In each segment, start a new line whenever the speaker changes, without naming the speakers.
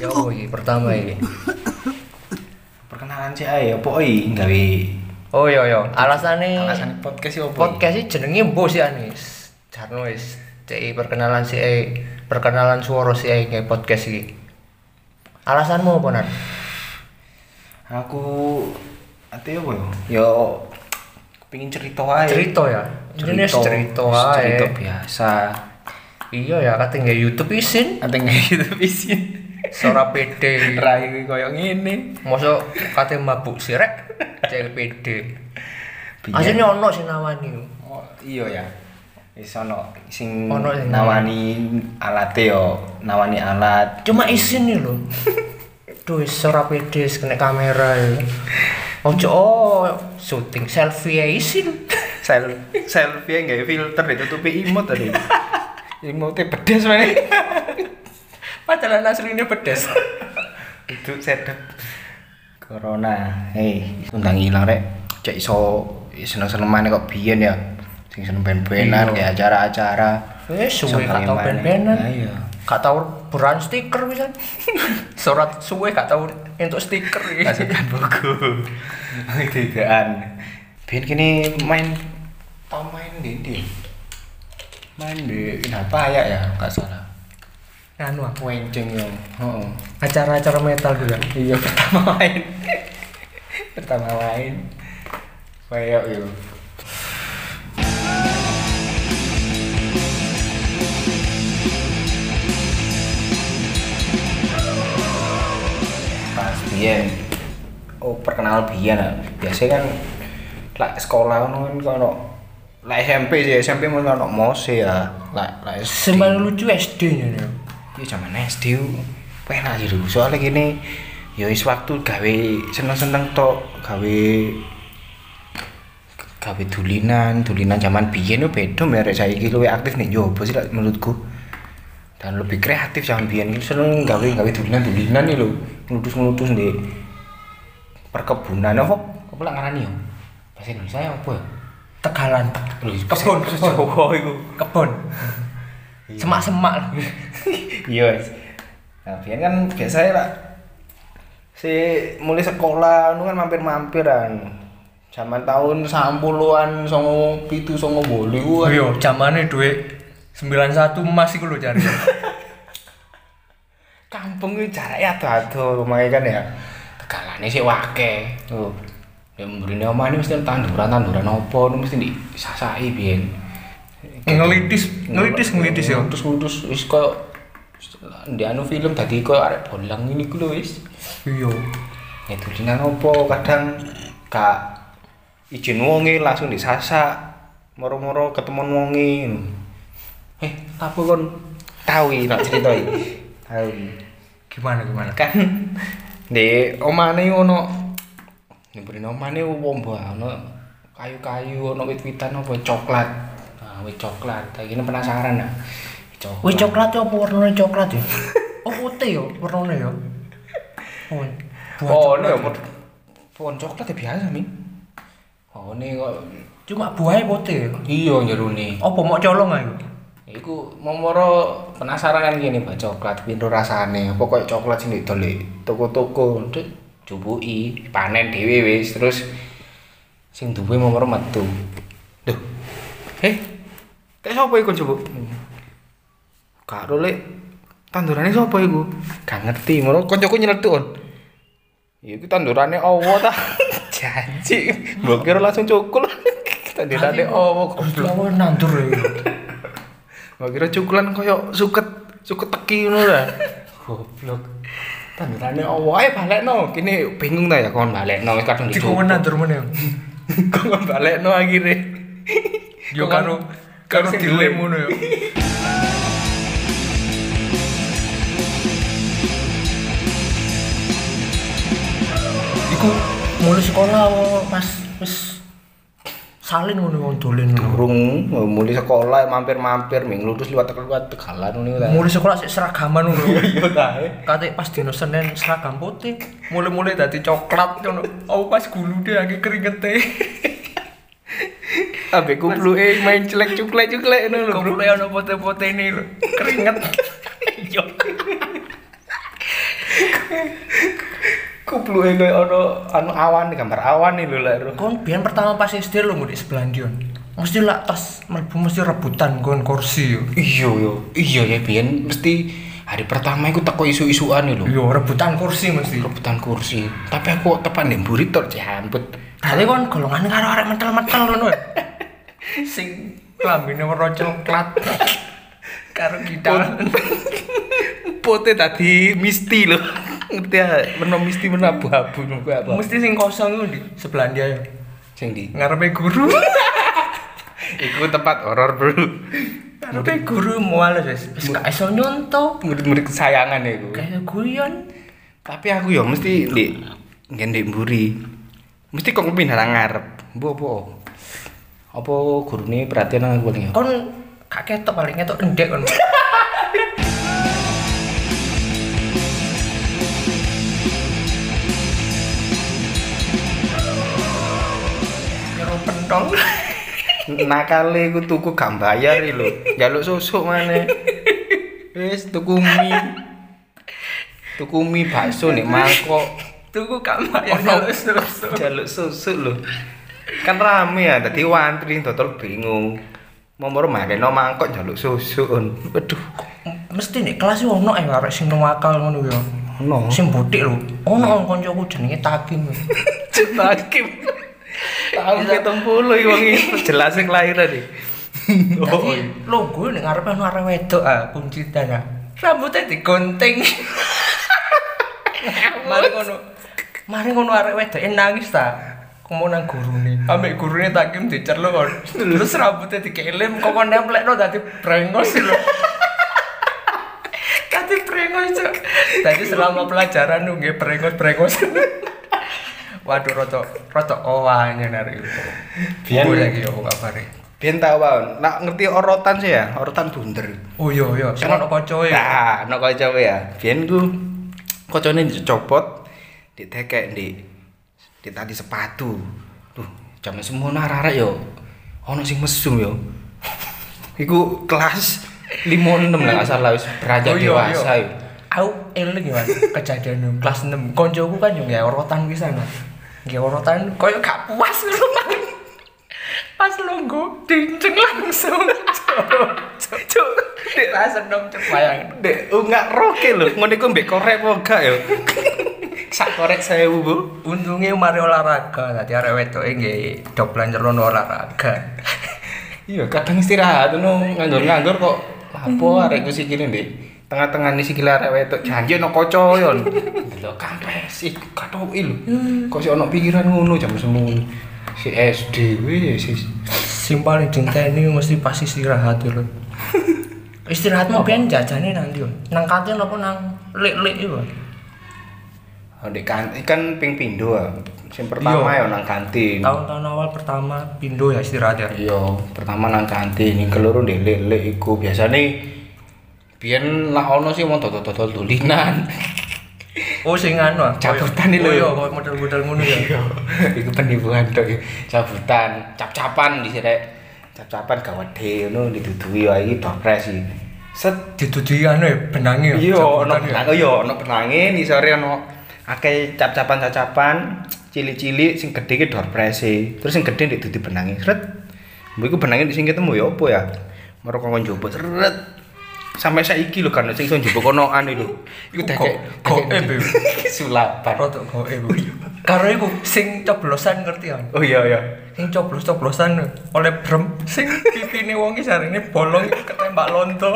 Ya apa iki pertama iki?
Perkenalan sih ae opo iki gawe
Oh iya iya, alasane
alasan podcast ya, sih opo?
podcast iki jenenge mbo sih anis. Jarno wis cek perkenalan sih eh, perkenalan suara sih eh, kayak podcast iki. Alasanmu apa Nan?
Aku ate opo yo? Yo pengin cerita ae.
Cerita ya. Jenenge cerita ae.
Cerita biasa.
Iya ya, katanya YouTube isin,
Ate nggak gitu isin.
suara PD.
Rai koyo ngene.
Mosok kate mabuk sirek, cek PD.
Biyen-
Asline ono sing nawani.
Oh, iya ya. Wis ono sing
Ono sing
nawani alate yo, nawani alat.
Cuma isin nih lho. Duh, suara PD kena kamera ya. Ojo oh, syuting selfie ya isin.
Sel selfie nggak ya, filter ditutupi imut tadi. Imutnya pedes mana?
Padahal aslinya pedes.
Itu sedap. Corona, hei, undang hilang rek. Cek iso seneng seneng mana kok biyen ya? Sing seneng ben-benan kayak acara-acara.
Eh, suwe
Iso
gak tau
kali maneh.
ben-benan.
Nah, Iya.
Gak tau beran stiker bisa. Surat suwe gak tau entuk stiker. ya.
Masukan buku. Tidaan. Biyen kini main tau main di di. Main di apa ya ya? Enggak salah.
Anu aku
Wenceng yo. Heeh.
acara-acara metal juga.
iya pertama main pertama main kayak gitu. yo pas biyen oh perkenalan biyen ah. biasanya kan lek sekolah ngono kan kono lek SMP sih SMP mung kono mos ya lek lek SD.
Sembang lucu SD-nya.
Ya zaman SD ku penak sih dulu. Soalnya gini, ya wis waktu gawe seneng-seneng tok, gawe gawe dulinan, dulinan zaman biyen ku beda merek saiki luwih aktif nih yo apa sih lah menurutku. Dan lebih kreatif zaman biyen ku seneng gawe gawe dulinan-dulinan iki lho, ngeludus-ngeludus di perkebunan apa apa lah ngarani yo. Bahasa Indonesia ya apa ya?
Tegalan.
Kebun, Jawa iku.
Kebon. Semak-semak.
iya wes nah biar kan biasanya lah si mulai sekolah nu kan mampir-mampiran zaman tahun 90-an songo pitu songo bolu
Oh
ku
iya, zamane duit 91 emas iku lho jare.
kampung itu jaraknya ado-ado lumayan kan ya tegalane sih wake tuh ya mrene omah ini mesti tanduran-tanduran apa nu mesti disasai biyen
ngelitis, ngelitis, ngelitis ya.
terus terus wis koyo di anu film tadi koyo arek bolang ini ku lho wis
Iya.
ya dulinan opo kadang gak izin wonge langsung disasak moro-moro ketemu wonge eh apa kon tahu iki nak cerita iki tahu
Gimana gimana?
kan di omane ono nyebrin omane wong mbah ono kayu-kayu ono wit-witan apa coklat nah wit coklat iki penasaran nah Wit coklat
Wis coklat ya apa warnane coklat ya? Oh putih ya warnane ya. Oh. buah coklat
oh ini ya
ya.
pod- pohon coklat ya biasa mi oh ini kok
Cuma buahnya putih. ya?
iya jeruni
Apa mau colong ae?
Iku momoro penasaran kan gini Pak coklat pintu rasane apa koyo coklat sing didol di toko-toko Dek, cubuki panen dhewe wis terus sing duwe momoro metu. Duh. Eh. Tek sapa iku jebuk? Karo lek tandurane sapa iku? Gak ngerti, moro kancaku nyeletuk. on. Ya iku tandurane owo ta. Janji, mbok kira langsung cukul. tandurane
Oh,
owo goblok.
Lah nandur ya.
Gak kira cukulan koyo suket suket teki ngono lah. Goblok. Tandurane opo ae balekno. Kene bingung ta ya kon balekno wis kadung
Iku
dicuk.
nandur meneh.
Kon balekno akhire.
Yo karo karo
Sing
dilem
dilem.
ngono ya. Iku mulai sekolah apa pas wis salin ngono wong dolen ngono.
Burung mulai sekolah mampir-mampir ming lurus liwat liwat tegalan ngono ta.
Mulai sekolah sik seragaman ngono.
Iya ta.
Kate pas dino Senin seragam putih, mulai-mulai dadi coklat ngono. Aku pas gulu deh akeh keringete.
Ambek kupluke main celek-cuklek-cuklek ngono lho, Bro.
Kumpulnya Iya. ono pote-pote ini lho, keringet. Yo.
Kupluke koyo ono anu awan gambar awan nih lho lek Ruh.
kon biyen pertama pas SD lo ngudi sebelahan Dion mesti lah tas mlebu mesti rebutan kon kursi yo
Iya yo. Iya ya biyen mesti hari pertama iku teko isu-isuan nih lho.
yo rebutan kursi mesti
Rebutan kursi. Tapi aku kok tepan ning mburi tok jambut.
kali kon golongan karo arek mentel-mentel ngono ya. sing klambine warna coklat karo kita
Pote tadi misti lho. Ngerti ya, meno misti meno abu-abu nunggu apa.
mesti sing kosong iku di sebelah dia ya.
Sing di.
ngarepe guru
Iku tempat horor, Bro.
ngarepe guru mual wis wis gak iso nyonto
Murid-murid kesayangan ya iku.
kayak guyon
Tapi aku ya mesti ndek nggen ndek mburi. Mesti kok pindah nang ngarep. Mbok apa? Apa gurune perhatian nang aku paling ya?
kon gak ketok paling ketok endek kon Nyuruh pentol
nakale ku tuku gak bayar iki lho. Njaluk susuk maneh. Wis tuku mie. Tuku mie bakso nek mangkok.
tunggu kamar yang
Ono.
halus terus
Jaluk susuk lho. Kan rame ya, dadi wantri dodol bingung. Momor makeno mangkok jaluk susuk. Waduh.
mesti nih kelas yo ono ya arek sing nuwakal ngono ya
Ono.
sing butik lho ono kancaku jenenge Takim
Hakim. Tahun pitung puluh iki wong iki jelas sing kelahiran iki.
tapi lo gue nih ngarepe ono arek wedok ah kunci dana rambutnya digunting mari ngono mari ngono arek wedok eh, nangis ta mau nang gurune ambek gurune takim dicerlo kon terus rambutnya dikelim kok kon nemplekno dadi brengos lho dadi brengos cok dadi selama pelajaran lu nggih brengos-brengos waduh roto roto owahnya nari
Biyen-
Gue lagi yo kabare
Biyen tau wae. Nak ngerti orotan sih ya, orotan bunder.
Oh iya iya, sing ono kocoe.
Nah, nak kocok ya. Biyen ku kocone dicopot, ditekek di di tadi sepatu. Duh, jaman semono arek-arek yo. Ono sing mesum yo. Iku kelas 56 lah nggak salah wis beranjak
Oh iya,
dewasa
iya.
yo.
Aku eling ya Mas, kejadian yang kelas 6. Koncoku kan yo nggak orotan pisan. Nggak orotan koyo gak puas ngono Mas. Pas lunggu dinceng langsung. Cuk, cuk. Dek rasa nom cuk bayang.
Dek, enggak oh, roke lho. Ngene ku mbek korek apa enggak yo. Sak korek 1000, Bu.
Untungnya mari olahraga, tadi arek wedoke nggih doblan celon olahraga.
Iya, kadang istirahat ngono nganggur-nganggur kok apa arek ku sikile, Dik. Tengah-tengah ni sikile arek wedok janji ono kaca yo. Delok kampes iki katoki lho. Kok sik ono pikiran ngono jam semono. Si SD wis wis.
Sing paling dinteni mesti pas istirahat ya, lho. Istirahat mau ben jajane nanti yo. Nang kantin apa nang lik-lik iku.
Oh, Ndek kan ikan ping pindho. ah. Sing pertama yo nang kantin.
tahun-tahun awal pertama pindo ya istirahat ya
Iya, pertama nang kantin, yang keloro ndek lelek iku biasane biyen lak ono sih mau dodol-dodol dolinan.
oh sing anu ah,
Cabutan
koyo-
ini lho.
oh iya koyo model-model ngono ya
Iya, iku penipuan tok. ya. Cabutan, cap-capan disirek. Cap-capan gak wedi ngono didudui wae iki dopres iki. Set
ditudi anu ya benangi ya
iya
cabutan
ono
ya.
penang, iya ono penange ni sore ono akeh cap-capan-cacapan cilik-cilik sing gedhe iki dorprese. Terus sing gedhe ndek dudui benange. Sret. Mbok iku benange ndek sing ketemu ya apa ya? Moro kok njupuk sret. Sampai saiki lho kan sing iso njupuk konoan iki lho. Iku
Iku
dekek
go- goib,
dekek- sulapan.
rotok goe bu
Iya.
karo iku sing coblosan ngerti ya
Oh iya iya.
sing coblos-coblosan oleh brem sing pipine wong iki jarine bolong iku ketembak lonto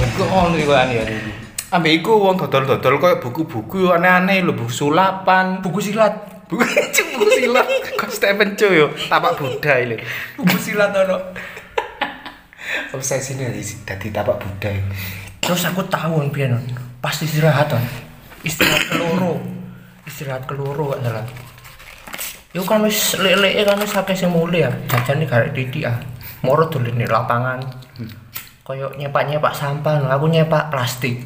Iku ono iku aneh aneh. Ambek iku wong dodol-dodol koyo buku-buku aneh-aneh lho, buku sulapan,
buku silat
buku buku silat, kok Stephen Chow yo, tapak Buddha lho.
buku silat ono
Obsesine dadi- dadi tapak Buddha.
terus aku tahu kan pian kan. pas istirahat kan istirahat keloro istirahat keloro gak salah Yo kan wis leleke kan wis akeh sing mule ya, jajane garek titik ah. Moro dolen di lapangan. Koyo nyepak-nyepak sampah, lho. aku nyepak plastik.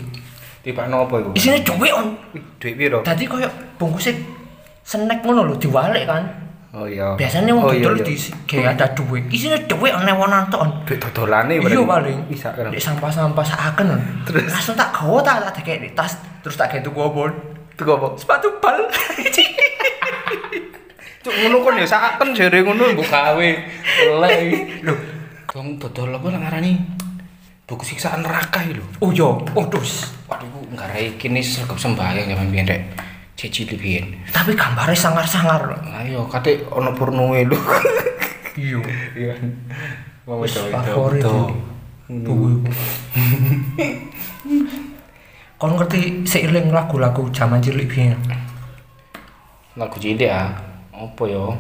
Tipak nopo iku?
Isine dhuwit on.
Duit piro?
Dadi koyo bungkuse snack ngono lho diwalik kan.
Oh iya.
Biasanya wong
oh, iya,
dodol
iya.
di kayak ada duit. Isine duit ana wonan tok.
Duit dodolane
Iya paling.
Bisa kan.
Dek sampah-sampah saken. Terus langsung tak gawa tak tak dikek di tas terus tak gawe tuku apa?
Tuku apa?
Sepatu bal.
Cuk ngono kon ya saken jere ngono mbok gawe. Oleh.
Loh,
Wong dodol apa lah ngarani? Buku siksaan neraka iki lho.
oh iya, oh dus.
Waduh, ku nggarai kini sergap sembahyang zaman biyen rek. Cici biyen.
Tapi gambarnya sangar-sangar loh.
Ayo, kate ono pornoe lho.
Iya.
Iya. Mau
Wis favorit.
wedok-wedok. Wedok.
Duwe. Kon ngerti seiling lagu-lagu zaman cilik biyen.
Lagu cilik ah. Apa yo?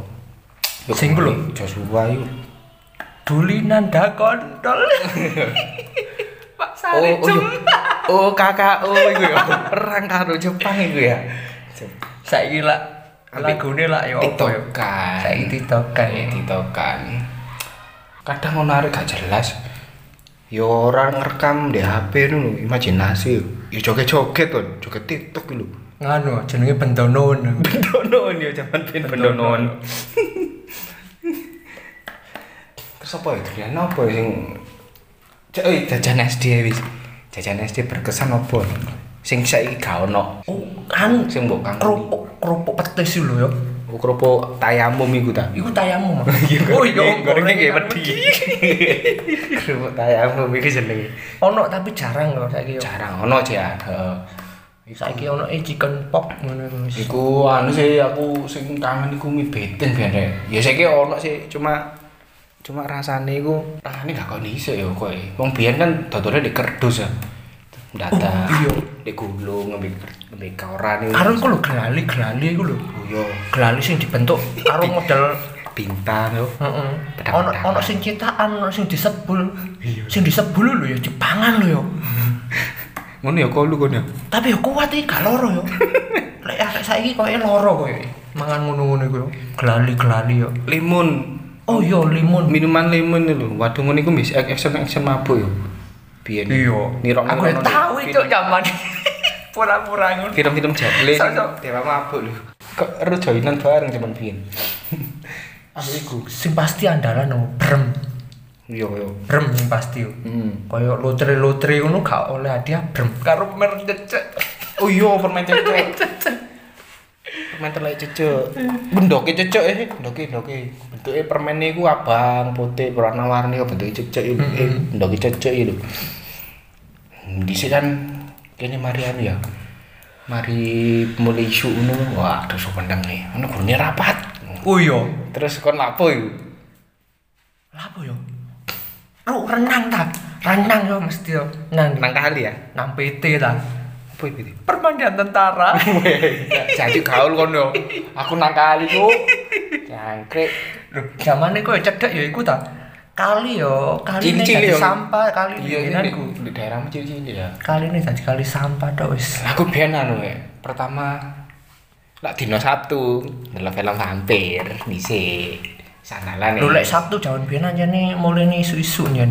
Sing ku lho.
Joshua yuk.
Dulinan da kondol. Pak
Oh,
Sari
oh,
Jum.
iya. oh kakak, oh iku ya. Perang karo Jepang iku ya.
Saiki lak lagune lak yo apa yo.
TikTokan.
Saiki TikTokan.
Kayak TikTokan. Kadang ono arek gak jelas. Yo orang ngerekam di HP dulu, imajinasi. Yo joget-joget tuh, joget TikTok dulu.
Nganu jenenge bendono.
Bendonon yo zaman ben bendonon. Terus apa ya? Kalian apa ya sing Cek, eh, jajan SD ya, wis. Jajan SD berkesan apa? Sing saiki gak ono.
Oh, anu
Sing mbok kangen.
kerupuk kerupuk petis lho yo.
Ukropo tayamum iku ta.
Iku tayamu. Mas. Oh iya,
gorengnya kayak
gorengan.
wedi. Kerupuk tayamum iku jenenge.
Ono tapi jarang loh saiki yo.
Jarang ono sih ya. Heeh.
Saiki ono e chicken pop ngono iku wis.
Iku anu sih aku sing kangen iku mie betin biyen rek. Ya saiki ono sih cuma cuma rasane iku rasane gak kok iso ya kowe. Wong biyen kan dodole di kerdus ya. Data.
Oh, iya.
Di gulung ngombe ker- ngombe koran iku. Iya,
Karo iku lho gelali-gelali iku lho.
Yo
Gelali sing dibentuk karo model
bintang yo.
heeh.
Pedang-pedang.
Ono ono sing cetakan, ono sing disebul.
Iya.
Sing disebul lho yo Jepangan lho yo.
Ngono ya kok lu kono.
Tapi yo kuat iki gak loro yo. Lek arek saiki koyo loro koyo. Mangan ngono-ngono iku yo. Gelali-gelali yo.
Limun.
Oh iya limun.
minuman lemon lho waduh ngono iku mis action action mabuk yo biyen nirok
Iya. Aku yang tahu itu zaman pura-pura ngono.
film film jable
Sok-sok.
dewa mabuk lho kok ero joinan bareng cuman biyen aku iku
Sing pasti andalan no brem.
yo yo
Brem sing pasti. yo.
hmm.
Koyo lotre-lotre ngono gak oleh hadiah brem karo mercek.
oh iya permen cecek permen telai cecek bendoke cecek eh bendoke bendoke bentuke permen iku abang putih berwarna warni bentuke cecek lho. eh bendoke cecek lho di sini kan kene Marian ya mari mulai isu ngono wah terus pandang nih ngono gurune rapat
Oh iya.
terus kon lapo iku
Lapo yo? Ru renang ta? Renang yo mesti yo. Nang
nang kali ya
nang PT ta.
apa itu
Permandian tentara.
jadi gaul kon yo aku nang kali yo jangkrik
Loh, zamane koyo cedek yo iku ta. Kali yo, kali ini
Cilik-cilik
jadi
yo.
sampah, kali
iya
ini kan.
ini
nggenanku.
di daerahmu cilik-cilik ya
Kali ini jadi kali sampah tok wis.
Lah, aku biyen anu ya pertama lak dino Sabtu ndelok film vampir dhisik sanalan
Lho lek Sabtu jaman biyen anjene mulene isu-isu nyen.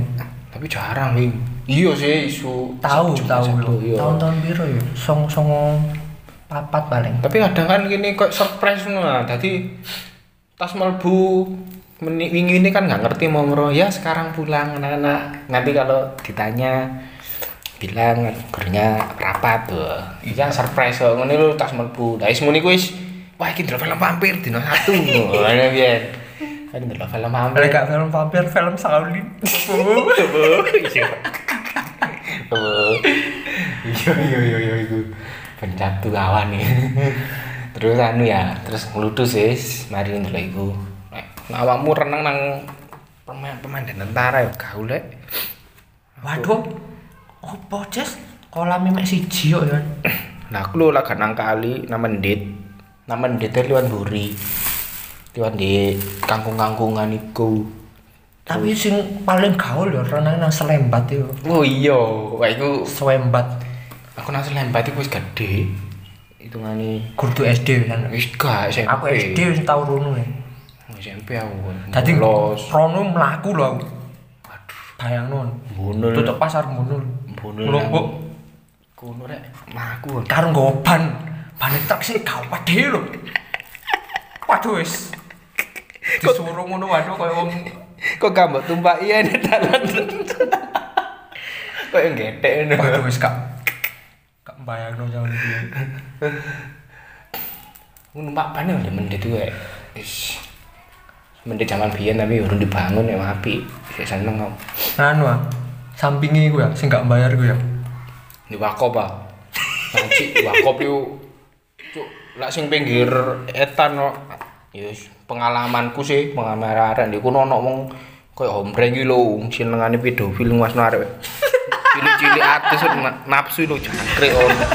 tapi jarang wing iya sih isu
Tahu
Sabtu,
tahu
Sabtu,
yo.
iya.
Tahun-tahun piro yo? Songo-songo papat paling.
tapi kadang kan gini kok surprise nah tadi tas melbu meni- wingi ini kan nggak ngerti mau mero ya sekarang pulang anak-anak nanti kalau ditanya bilang gurunya rapat tuh iya surprise kok ngono lu tas melbu lah ismu niku wis wah iki ndelok film vampir dino satu ngono biyen kan ndelok film vampir
Lek gak film vampir, film Shaolin.
iya iya iya iya iya itu pencatu kawan nih terus anu ya terus ngeludus wis mari ndelok iku Nek- nek awakmu renang nang pemain pemain tentara ya gaul lek
Waduh. Opo, Jes? Kolame mek siji kok yo.
nah aku lho lah gak nang kali nang mendit nang mendit liwan buri liwan di kangkung-kangkungan iku
Tapi sing paling gaul yo renang nang Selembat yo.
oh iya wah iku
Selembat.
aku nang lembat iku wis gede hitungane
Gurdu SD kan.
wis gak SMP
Aku SD wis tau rono. ya.
SMP aku
Dadi
los
rono mlaku lho aku. Bayangno.
bunul
Tutup pasar munul.
bunul
Lombok.
kuno rek mlaku
karo nggawa ban ban truk sing gawat dhewe lho waduh wis disuruh ngono waduh koyo wong
Kok gak mbok tumpak iya nek dalan. Kok yang getek ngono.
waduh wis kak kak bayangno jauh iki
Numpak ban ya udah mendet wae. Wis. Mendet zaman biyen tapi urung dibangun ya apik. Sik seneng kok.
anu ah sampingi gue ya sing gak bayar gue ya
Di wakop ah. Nanti wakop yo cuk lak sing pinggir etan kok. Ya wis, pengalamanku sih pengalaman iku ono wong koyo hombreng iki lho senengane pedofil ngasno arek. Cilik-cilik atus na- nafsu lho jangkrik ono.